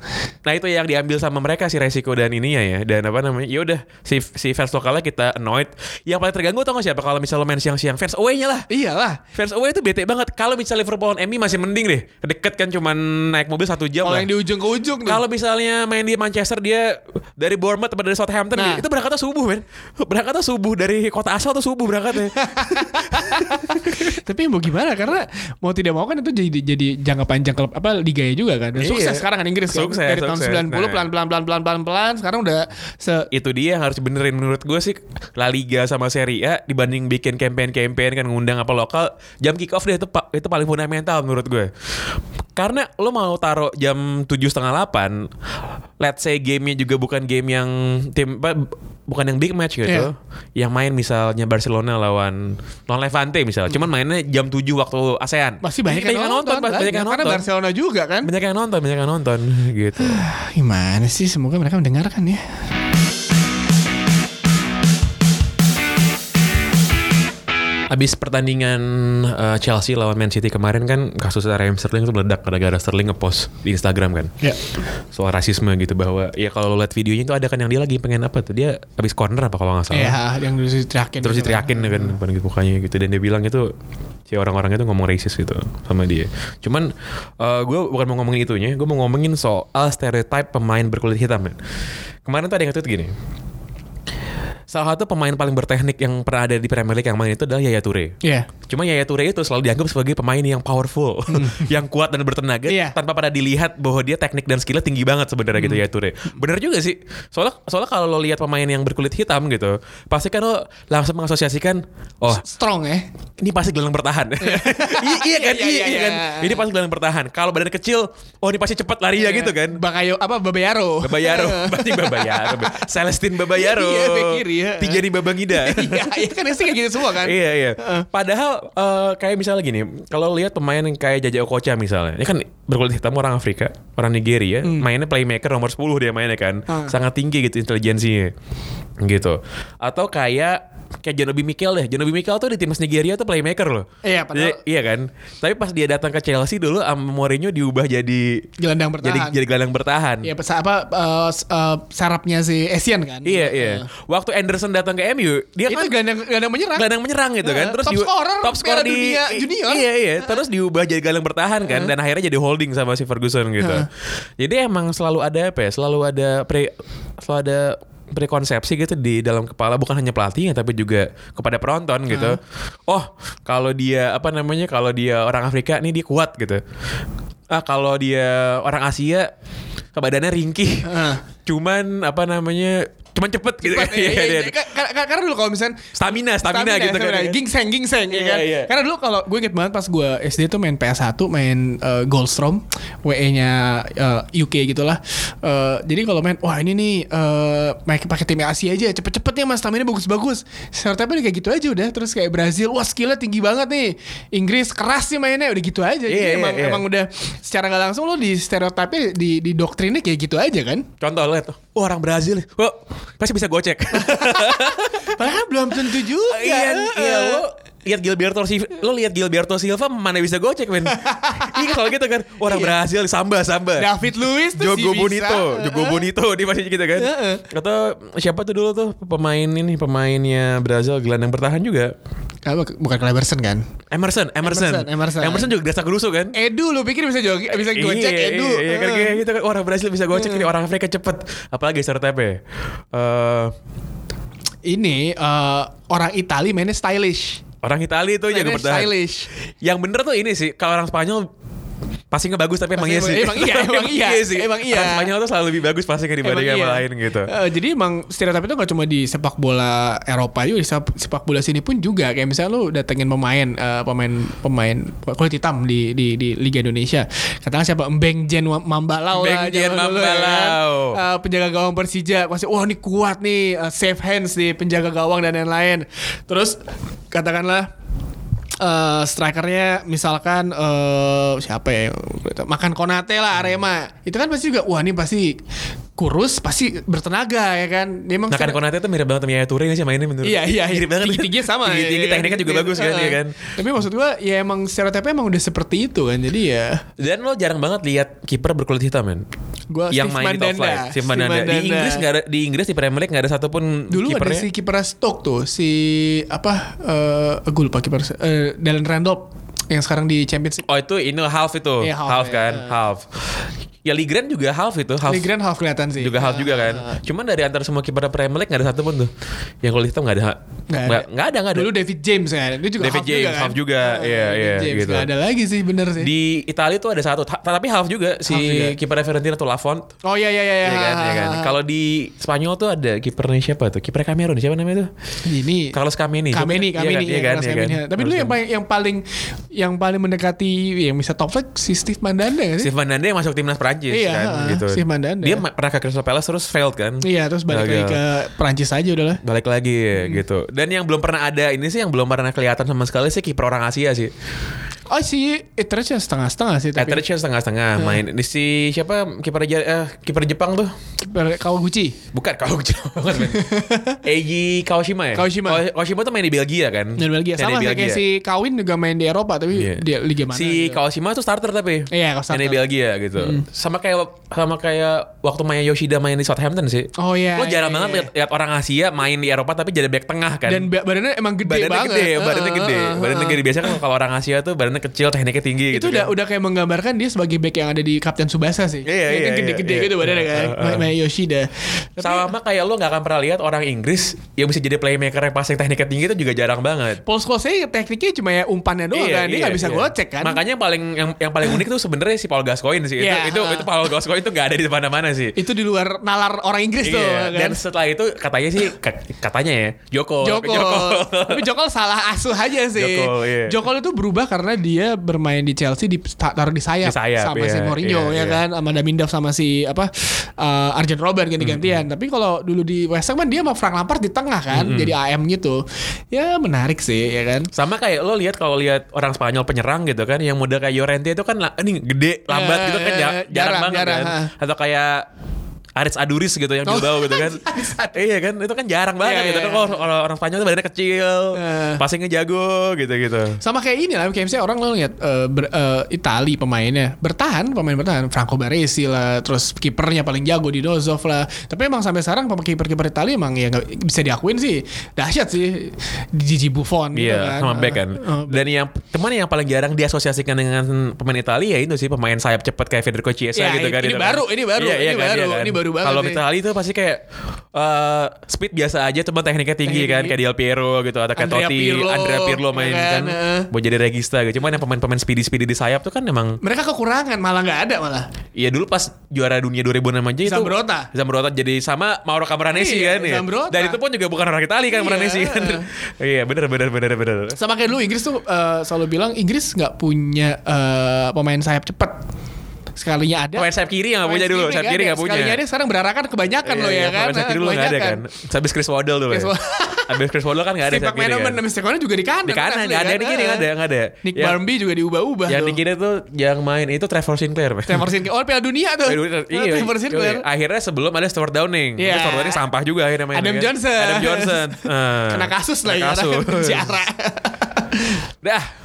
[SPEAKER 1] Nah itu yang diambil sama mereka sih resiko dan ininya ya dan apa namanya. Ya udah si si fans lokalnya kita annoyed. Yang paling terganggu tau gak siapa kalau misalnya main siang-siang fans away-nya lah.
[SPEAKER 2] Iyalah.
[SPEAKER 1] Fans away itu bete banget. Kalau misalnya Liverpool lawan MU masih mending deh. Deket kan cuman naik mobil satu jam
[SPEAKER 2] Kalau
[SPEAKER 1] lah.
[SPEAKER 2] yang di ujung ke ujung nih.
[SPEAKER 1] Kalau misalnya main di Manchester dia dari Bournemouth atau dari Southampton
[SPEAKER 2] Nah.
[SPEAKER 1] itu berangkatnya subuh men. Berangkatnya subuh dari kota asal tuh subuh berangkatnya.
[SPEAKER 2] *laughs* tapi mau gimana karena mau tidak mau kan itu jadi jadi jangka panjang klub apa liganya juga kan. Dan
[SPEAKER 1] Iya.
[SPEAKER 2] sukses sekarang kan Inggris kan.
[SPEAKER 1] Sukses,
[SPEAKER 2] Dari
[SPEAKER 1] sukses.
[SPEAKER 2] tahun 90
[SPEAKER 1] Nah.
[SPEAKER 2] pelan-pelan pelan-pelan pelan-pelan sekarang udah se
[SPEAKER 1] itu dia yang harus benerin menurut gue sih La Liga sama Serie A dibanding bikin campaign-campaign kan ngundang apa lokal jam kick off deh itu, pa- itu paling fundamental menurut gue karena lo mau taruh jam tujuh setengah delapan let's say gamenya juga bukan game yang tim apa, bukan yang big match gitu
[SPEAKER 2] Iya.
[SPEAKER 1] yang main misalnya Barcelona lawan non Levante misalnya cuman mainnya jam 7 waktu ASEAN
[SPEAKER 2] masih banyak yang nonton, kan?
[SPEAKER 1] Pak. banyak yang
[SPEAKER 2] Karena
[SPEAKER 1] nonton
[SPEAKER 2] Barcelona juga kan.
[SPEAKER 1] banyak yang nonton banyak yang nonton gitu
[SPEAKER 2] Ah, Gimana sih semoga mereka mendengarkan ya.
[SPEAKER 1] Abis pertandingan uh, Chelsea lawan Man City kemarin kan kasus Raheem Sterling itu meledak gara-gara Sterling ngepost di Instagram kan
[SPEAKER 2] Ya.
[SPEAKER 1] soal rasisme gitu bahwa ya kalau lo lihat videonya itu ada kan yang dia lagi pengen apa tuh dia abis corner apa kalau nggak salah
[SPEAKER 2] Iya, yang dulu diteriakin.
[SPEAKER 1] terus
[SPEAKER 2] gitu kan.
[SPEAKER 1] diteriakin kan depan gitu mukanya gitu dan dia bilang itu si orang-orang itu ngomong racist gitu sama dia cuman gue bukan mau ngomongin itunya gue mau ngomongin soal stereotype pemain berkulit hitam men. kemarin tuh ada yang nge-tweet gini salah satu pemain paling berteknik yang pernah ada di Premier League yang main itu adalah Yaya Toure
[SPEAKER 2] Iya.
[SPEAKER 1] Cuma Yaya Toure itu selalu dianggap sebagai pemain yang powerful, *laughs* yang kuat dan bertenaga
[SPEAKER 2] Hmm. Iya. Hmm.
[SPEAKER 1] tanpa pada dilihat bahwa dia teknik dan skillnya tinggi banget sebenarnya gitu Yaya Toure. Bener juga sih. Soalnya soalnya kalau lo lihat pemain yang berkulit hitam gitu, pasti kan lo langsung mengasosiasikan, oh
[SPEAKER 2] Strong ya.
[SPEAKER 1] ini pasti gelandang bertahan. *laughs* I- iya kan,
[SPEAKER 2] Iya, iya,
[SPEAKER 1] iya, iya kan.
[SPEAKER 2] iya.
[SPEAKER 1] Ini pasti gelandang bertahan. Kalau badan kecil, oh ini pasti cepat larinya gitu kan.
[SPEAKER 2] Bakayo apa Babayaro. *laughs*
[SPEAKER 1] Babayaro, berarti Babayaro. Celestine Babayaro.
[SPEAKER 2] Iya, bek kiri, ya.
[SPEAKER 1] Tiga di Babangida.
[SPEAKER 2] *laughs* Iya, iya kan sih kayak gitu semua kan.
[SPEAKER 1] Iya iya. Padahal eh, kayak misalnya gini, kalau lihat pemain yang kayak Jaja Okocha misalnya, ini kan berkulit hitam orang Afrika, orang Nigeria, mainnya playmaker nomor 10 dia mainnya kan.
[SPEAKER 2] Hmm.
[SPEAKER 1] Sangat tinggi gitu intelijensinya. Gitu. Atau kayak kayak Janobi Mikel deh. Janobi Mikel tuh di timnas Nigeria tuh playmaker loh.
[SPEAKER 2] Iya, padahal-
[SPEAKER 1] Jadi- Iya kan. Tapi pas dia datang ke Chelsea dulu sama Mourinho diubah jadi
[SPEAKER 2] Gelandang
[SPEAKER 1] jadi
[SPEAKER 2] bertahan.
[SPEAKER 1] jadi gelandang bertahan.
[SPEAKER 2] Ya pesa- apa eh, s- eh, sarapnya si Asian kan?
[SPEAKER 1] Iya iya. Waktu Anderson datang ke MU, dia
[SPEAKER 2] Itu
[SPEAKER 1] kan
[SPEAKER 2] gelandang gelandang menyerang.
[SPEAKER 1] gelandang menyerang gitu kan
[SPEAKER 2] Nah,
[SPEAKER 1] terus
[SPEAKER 2] top
[SPEAKER 1] diu-
[SPEAKER 2] scorer
[SPEAKER 1] top scorer
[SPEAKER 2] Piala
[SPEAKER 1] di
[SPEAKER 2] Dunia
[SPEAKER 1] i-
[SPEAKER 2] junior. Eh.
[SPEAKER 1] iya iya terus diubah jadi gelandang bertahan kan dan akhirnya jadi holding sama si Ferguson gitu
[SPEAKER 2] Eh.
[SPEAKER 1] jadi emang selalu ada apa ya selalu ada pre selalu ada prekonsepsi gitu di dalam kepala bukan hanya pelatihnya tapi juga kepada penonton gitu
[SPEAKER 2] Eh.
[SPEAKER 1] oh kalau dia apa namanya kalau dia orang Afrika nih dia kuat gitu ah kalau dia orang Asia badannya ringkih
[SPEAKER 2] Heeh.
[SPEAKER 1] cuman apa namanya cuman cepet gitu
[SPEAKER 2] Cepat, Eh. iya,
[SPEAKER 1] *laughs* Iya,
[SPEAKER 2] iya,
[SPEAKER 1] iya.
[SPEAKER 2] iya. Ka- ka- ka- Karena dulu kalau misalnya
[SPEAKER 1] stamina stamina, gitu kan
[SPEAKER 2] stamina. Gingseng, gingseng ya
[SPEAKER 1] Iya,
[SPEAKER 2] kan?
[SPEAKER 1] iya.
[SPEAKER 2] Karena dulu kalau gue inget banget pas gue SD tuh main PS1, main eh, Goldstrom, WE-nya eh, UK gitu lah. Eh, jadi kalau main, wah ini nih eh, pakai pakai tim Asia aja, cepet-cepet nih mas, stamina bagus-bagus. Serta apa kayak gitu aja udah, terus kayak Brazil, wah skillnya tinggi banget nih. Inggris keras sih mainnya, udah gitu aja. Jadi
[SPEAKER 1] Iya, iya,
[SPEAKER 2] emang,
[SPEAKER 1] iya.
[SPEAKER 2] emang udah secara nggak langsung lo di stereotipnya di, di doktrinnya kayak gitu aja kan?
[SPEAKER 1] Contoh lo liat, oh orang Brazil, oh, pasti bisa gocek.
[SPEAKER 2] Padahal belum tentu juga.
[SPEAKER 1] *laughs* iya, *laughs* iya lo lihat Gilberto Silva, lo lihat Gilberto Silva mana bisa gocek men? *laughs* iya kalau gitu kan, oh, orang Brazil samba samba.
[SPEAKER 2] David Luiz tuh
[SPEAKER 1] Jogo
[SPEAKER 2] sih bisa.
[SPEAKER 1] Bonito, Jogo Bonito dia masih gitu kan.
[SPEAKER 2] Heeh.
[SPEAKER 1] Atau siapa tuh dulu tuh pemain ini pemainnya Brazil gelandang bertahan juga.
[SPEAKER 2] Apa, bukan Cleberson kan?
[SPEAKER 1] Emerson, Emerson.
[SPEAKER 2] Emerson, Emerson.
[SPEAKER 1] juga dasar gerusu kan?
[SPEAKER 2] Edu lu pikir bisa joget Eh, bisa gocek
[SPEAKER 1] iya,
[SPEAKER 2] Edu.
[SPEAKER 1] Iya, iya, kan
[SPEAKER 2] Heeh.
[SPEAKER 1] kayak gitu kan orang Brazil bisa gocek, ini orang Afrika cepet. Apalagi stereotipnya. Eh
[SPEAKER 2] Ini eh, orang Itali mainnya stylish.
[SPEAKER 1] orang Itali itu jago
[SPEAKER 2] Mainnya
[SPEAKER 1] bertahan.
[SPEAKER 2] stylish.
[SPEAKER 1] Yang bener tuh ini sih Kalau orang Spanyol Passingnya bagus tapi emang iya sih.
[SPEAKER 2] Passingnya bagus, emang
[SPEAKER 1] *laughs*
[SPEAKER 2] iya, emang iya,
[SPEAKER 1] sih.
[SPEAKER 2] emang iya.
[SPEAKER 1] Orang Spanyol tuh selalu lebih bagus passingnya
[SPEAKER 2] Emang
[SPEAKER 1] dibanding yang
[SPEAKER 2] iya.
[SPEAKER 1] lain gitu.
[SPEAKER 2] Eh, jadi emang stereotip itu gak cuma di sepak bola Eropa juga di sep- sepak bola sini pun juga kayak misalnya lu datengin pemain eh, pemain pemain kulit hitam di di, di Liga Indonesia katakan siapa Mbeng Jen Wa- Mambalau lah
[SPEAKER 1] Mbeng Jen
[SPEAKER 2] zaman dulu ya kan.
[SPEAKER 1] Mambalau.
[SPEAKER 2] Eh, penjaga gawang Persija pasti wah ini kuat nih eh, safe hands di penjaga gawang dan lain-lain terus katakanlah eh strikernya misalkan eh siapa ya makan Konate lah Arema itu kan pasti juga wah ini pasti kurus pasti bertenaga ya kan dia emang
[SPEAKER 1] Nah kan Konate tuh mirip banget sama Yaya Toure gak sih mainnya menurut
[SPEAKER 2] Iya iya
[SPEAKER 1] Mirip banget
[SPEAKER 2] tinggi sama
[SPEAKER 1] Tinggi, tinggi
[SPEAKER 2] ya, ya,
[SPEAKER 1] tekniknya juga
[SPEAKER 2] Tinggi-
[SPEAKER 1] bagus kan
[SPEAKER 2] Heeh.
[SPEAKER 1] ya kan
[SPEAKER 2] Tapi maksud gua ya emang stereotipnya emang udah seperti itu kan jadi ya
[SPEAKER 1] Dan lo jarang banget lihat kiper berkulit hitam men
[SPEAKER 2] Gua
[SPEAKER 1] Yang
[SPEAKER 2] Steve
[SPEAKER 1] main di top
[SPEAKER 2] Mandanda.
[SPEAKER 1] flight Steve
[SPEAKER 2] Steve
[SPEAKER 1] Mandanda Di
[SPEAKER 2] Mandanda.
[SPEAKER 1] Inggris gak ada Di Inggris di Premier League gak ada satupun
[SPEAKER 2] dulu ada
[SPEAKER 1] kipernya.
[SPEAKER 2] si kiper Stoke tuh si apa eh gue lupa kiper eh Dalen Randolph yang sekarang di Championship.
[SPEAKER 1] Oh itu ini half itu
[SPEAKER 2] Iya, half,
[SPEAKER 1] Half
[SPEAKER 2] ya.
[SPEAKER 1] kan Half Ya Ligren juga half itu Half
[SPEAKER 2] Ligren half kelihatan sih.
[SPEAKER 1] juga half juga kan. Cuman dari antara semua kiper Premier League gak ada satupun tuh yang kulit hitam gak ada.
[SPEAKER 2] Nggak ada.
[SPEAKER 1] Gak, gak ada gak ada.
[SPEAKER 2] Nah, Dulu David James kan. Dia juga
[SPEAKER 1] David
[SPEAKER 2] half
[SPEAKER 1] James,
[SPEAKER 2] juga kan?
[SPEAKER 1] half juga.
[SPEAKER 2] Ah,
[SPEAKER 1] Iya,
[SPEAKER 2] David
[SPEAKER 1] iya,
[SPEAKER 2] James
[SPEAKER 1] gitu.
[SPEAKER 2] Nggak ada lagi sih bener sih.
[SPEAKER 1] di Italia tuh ada satu, ta- tapi half juga si
[SPEAKER 2] Half juga.
[SPEAKER 1] kiper Fiorentina tuh Lafont.
[SPEAKER 2] oh iya iya iya.
[SPEAKER 1] Iya kan, iya kan. Kalau di Spanyol tuh ada kipernya siapa tuh? Kiper Cameron siapa namanya tuh?
[SPEAKER 2] ini
[SPEAKER 1] Carlos Kameni.
[SPEAKER 2] Kameni,
[SPEAKER 1] Iya
[SPEAKER 2] Kameni, iya,
[SPEAKER 1] kan, iya kan,
[SPEAKER 2] Carlos
[SPEAKER 1] iya kan.
[SPEAKER 2] Kameni. Tapi dulu yang
[SPEAKER 1] Carlos
[SPEAKER 2] paling yang paling yang paling mendekati yang bisa top flight si Steve Mandanda nggak sih?
[SPEAKER 1] Steve Van Dande yang masuk timnas Prancis
[SPEAKER 2] Iya,
[SPEAKER 1] kan
[SPEAKER 2] ha,
[SPEAKER 1] gitu.
[SPEAKER 2] Steve Van Dande.
[SPEAKER 1] Dia ma- pernah ke Crystal Palace terus failed kan?
[SPEAKER 2] Iya, terus balik lagi
[SPEAKER 1] Gagal.
[SPEAKER 2] ke Hmm. Prancis aja udah lah.
[SPEAKER 1] balik lagi gitu. Dan yang belum pernah ada ini sih yang belum pernah kelihatan sama sekali sih kiper orang Asia sih.
[SPEAKER 2] Oh si Etheridge setengah-setengah sih tapi
[SPEAKER 1] Etheridge Eh, setengah-setengah main. Ini si siapa kiper Ja- eh, kiper Jepang tuh?
[SPEAKER 2] kiper Kawaguchi.
[SPEAKER 1] Bukan *laughs* kau jauh banget men. Eiji Kawashima ya?
[SPEAKER 2] Kawashima.
[SPEAKER 1] Kawa- Kawashima tuh main di Belgia kan?
[SPEAKER 2] Dan Belgia
[SPEAKER 1] Main
[SPEAKER 2] sama
[SPEAKER 1] di
[SPEAKER 2] sih, kayak si Kawin juga main di Eropa tapi
[SPEAKER 1] Iya.
[SPEAKER 2] dia liga mana?
[SPEAKER 1] Si
[SPEAKER 2] gitu.
[SPEAKER 1] Kawashima tuh starter tapi.
[SPEAKER 2] Iya,
[SPEAKER 1] Main di
[SPEAKER 2] starter. Hmm.
[SPEAKER 1] Belgia gitu. Sama kayak sama kayak waktu Maya Yoshida main di Southampton sih.
[SPEAKER 2] Oh iya.
[SPEAKER 1] Lo jarang
[SPEAKER 2] iya,
[SPEAKER 1] banget
[SPEAKER 2] iya.
[SPEAKER 1] lihat lihat orang Asia main di Eropa tapi jadi back tengah kan.
[SPEAKER 2] Dan ba- badannya emang gede
[SPEAKER 1] badannya
[SPEAKER 2] banget.
[SPEAKER 1] gede, badannya
[SPEAKER 2] Heeh,
[SPEAKER 1] gede,
[SPEAKER 2] heeh,
[SPEAKER 1] badannya
[SPEAKER 2] heeh.
[SPEAKER 1] gede. Biasanya kan kalau orang Asia tuh badannya kecil, tekniknya tinggi
[SPEAKER 2] itu
[SPEAKER 1] gitu.
[SPEAKER 2] udah
[SPEAKER 1] kan.
[SPEAKER 2] udah kayak menggambarkan dia sebagai back yang ada di Kapten Tsubasa sih.
[SPEAKER 1] Iya, iya,
[SPEAKER 2] Dia kan
[SPEAKER 1] iya,
[SPEAKER 2] Gede-gede
[SPEAKER 1] iya.
[SPEAKER 2] gitu badannya
[SPEAKER 1] Iya,
[SPEAKER 2] kan.
[SPEAKER 1] iya,
[SPEAKER 2] Maya-
[SPEAKER 1] iya.
[SPEAKER 2] Maya Yoshida. Tapi
[SPEAKER 1] sama kayak lo nggak akan pernah lihat orang Inggris yang bisa jadi playmaker yang passing tekniknya tinggi itu juga jarang banget.
[SPEAKER 2] Paul Scholes tekniknya cuma ya umpannya doang
[SPEAKER 1] Iya,
[SPEAKER 2] kan. Dia
[SPEAKER 1] iya,
[SPEAKER 2] nggak bisa
[SPEAKER 1] iya.
[SPEAKER 2] gocek kan.
[SPEAKER 1] Makanya yang paling yang, yang paling unik tuh sebenarnya si Paul Gascoigne sih. Itu
[SPEAKER 2] Iya,
[SPEAKER 1] itu,
[SPEAKER 2] ha.
[SPEAKER 1] itu Paul Gascoigne itu nggak ada di mana-mana sih.
[SPEAKER 2] itu di luar nalar orang Inggris tuh
[SPEAKER 1] Iya,
[SPEAKER 2] kan.
[SPEAKER 1] dan setelah itu katanya sih ka- katanya ya *laughs* Joko
[SPEAKER 2] Joko. *laughs* Tapi Jokol salah asuh aja sih.
[SPEAKER 1] Jokol, iya.
[SPEAKER 2] Jokol itu berubah karena dia bermain di Chelsea di ta- taruh di sayap,
[SPEAKER 1] Di sayap,
[SPEAKER 2] sama
[SPEAKER 1] iya,
[SPEAKER 2] si Mourinho ya
[SPEAKER 1] iya, iya.
[SPEAKER 2] kan, sama Damindov sama si apa eh, Arjen Robben ganti-gantian. Tapi kalau dulu di West Ham kan dia sama Frank Lampard di tengah kan, jadi AM gitu. Ya menarik sih ya kan.
[SPEAKER 1] sama kayak lo lihat kalau lihat orang Spanyol penyerang gitu kan yang muda kayak Llorente itu kan la- ini gede lambat
[SPEAKER 2] Eh,
[SPEAKER 1] gitu kan
[SPEAKER 2] eh,
[SPEAKER 1] jar- jarang,
[SPEAKER 2] jarang,
[SPEAKER 1] banget
[SPEAKER 2] jarang,
[SPEAKER 1] kan
[SPEAKER 2] ha.
[SPEAKER 1] atau kayak Aris Aduris gitu yang
[SPEAKER 2] Oh, *laughs*
[SPEAKER 1] Bilbao gitu kan iya kan itu kan jarang
[SPEAKER 2] Iya,
[SPEAKER 1] banget gitu
[SPEAKER 2] iya.
[SPEAKER 1] kan Kalau orang, orang Spanyol tuh badannya kecil
[SPEAKER 2] Eh.
[SPEAKER 1] passingnya jago gitu gitu
[SPEAKER 2] Sama kayak ini lah, kayak misalnya orang lo lihat eh, ber- eh, Itali pemainnya bertahan, pemain bertahan, Franco Baresi lah, terus kipernya paling jago di Dozov lah. Tapi emang sampai sekarang pemain kiper-kiper Itali emang ya nggak bisa diakuin sih, dahsyat sih, Gigi Buffon gitu
[SPEAKER 1] Iya,
[SPEAKER 2] kan.
[SPEAKER 1] sama back kan.
[SPEAKER 2] Eh, eh,
[SPEAKER 1] Dan yang teman yang paling jarang diasosiasikan dengan pemain Italia ya itu sih pemain sayap cepat kayak Federico Chiesa
[SPEAKER 2] Iya,
[SPEAKER 1] gitu
[SPEAKER 2] ini-
[SPEAKER 1] kan.
[SPEAKER 2] ini
[SPEAKER 1] itu
[SPEAKER 2] baru,
[SPEAKER 1] kan.
[SPEAKER 2] ini baru,
[SPEAKER 1] Iya, iya
[SPEAKER 2] ini
[SPEAKER 1] kan, iya
[SPEAKER 2] baru,
[SPEAKER 1] kan.
[SPEAKER 2] ini baru banget
[SPEAKER 1] Kalau
[SPEAKER 2] nih.
[SPEAKER 1] Italia itu pasti kayak eh, speed biasa aja cuma tekniknya tinggi
[SPEAKER 2] Teknik
[SPEAKER 1] kan
[SPEAKER 2] tinggi.
[SPEAKER 1] kayak Del Piero gitu atau kayak
[SPEAKER 2] Andrea
[SPEAKER 1] Totti,
[SPEAKER 2] Pirlo,
[SPEAKER 1] Andrea Pirlo
[SPEAKER 2] ya
[SPEAKER 1] main
[SPEAKER 2] kan,
[SPEAKER 1] kan.
[SPEAKER 2] eh.
[SPEAKER 1] Mau jadi regista gitu. Cuman yang pemain-pemain speedy-speedy di sayap tuh kan emang
[SPEAKER 2] mereka kekurangan malah nggak ada malah.
[SPEAKER 1] Iya dulu pas juara dunia 2006 aja itu
[SPEAKER 2] Zambrota.
[SPEAKER 1] Zambrota jadi sama Mauro Camoranesi
[SPEAKER 2] Iya,
[SPEAKER 1] kan ya.
[SPEAKER 2] Zambrota.
[SPEAKER 1] Dan itu pun juga bukan orang Italia kan
[SPEAKER 2] Iya.
[SPEAKER 1] Camoranesi
[SPEAKER 2] *laughs*
[SPEAKER 1] kan. Iya benar benar benar benar.
[SPEAKER 2] Sama kayak dulu Inggris tuh eh, selalu bilang Inggris nggak punya eh, pemain sayap cepat. Sekalinya ada
[SPEAKER 1] Pemain sayap kiri yang gak
[SPEAKER 2] pemain
[SPEAKER 1] Oh, punya dulu, sayap kiri
[SPEAKER 2] ada.
[SPEAKER 1] gak punya.
[SPEAKER 2] Sekalinya ada sekarang berarakan kebanyakan lo ya
[SPEAKER 1] Iya, iya,
[SPEAKER 2] kan.
[SPEAKER 1] Pemain sayap kiri
[SPEAKER 2] Eh,
[SPEAKER 1] dulu gak ada
[SPEAKER 2] kebanyakan.
[SPEAKER 1] kan. Habis Chris Waddle dulu.
[SPEAKER 2] Chris
[SPEAKER 1] ya.
[SPEAKER 2] Waddle.
[SPEAKER 1] Habis Chris Waddle kan gak ada
[SPEAKER 2] Steve
[SPEAKER 1] sayap kiri
[SPEAKER 2] McManaman
[SPEAKER 1] kan.
[SPEAKER 2] dan Steve McManaman juga di kanan.
[SPEAKER 1] Di kanan
[SPEAKER 2] asli kan?
[SPEAKER 1] gak ada, di kiri gak ada, gak ada.
[SPEAKER 2] Nick
[SPEAKER 1] Yang-
[SPEAKER 2] Barmby juga diubah-ubah
[SPEAKER 1] Yang di
[SPEAKER 2] tuh.
[SPEAKER 1] kiri tuh yang main itu Trevor Sinclair. *laughs*
[SPEAKER 2] Trevor Sinclair. Oh, Piala Dunia tuh.
[SPEAKER 1] Iya,
[SPEAKER 2] Trevor
[SPEAKER 1] iya.
[SPEAKER 2] Sinclair.
[SPEAKER 1] Akhirnya sebelum ada Stuart Downing.
[SPEAKER 2] Iya.
[SPEAKER 1] Terus Stuart Downing sampah juga akhirnya mainnya.
[SPEAKER 2] Adam
[SPEAKER 1] kan.
[SPEAKER 2] Johnson. *laughs*
[SPEAKER 1] Adam Johnson. Eh,
[SPEAKER 2] Kena kasus lah
[SPEAKER 1] kena
[SPEAKER 2] ya.
[SPEAKER 1] *laughs* kasus.
[SPEAKER 2] Penjara.
[SPEAKER 1] Dah.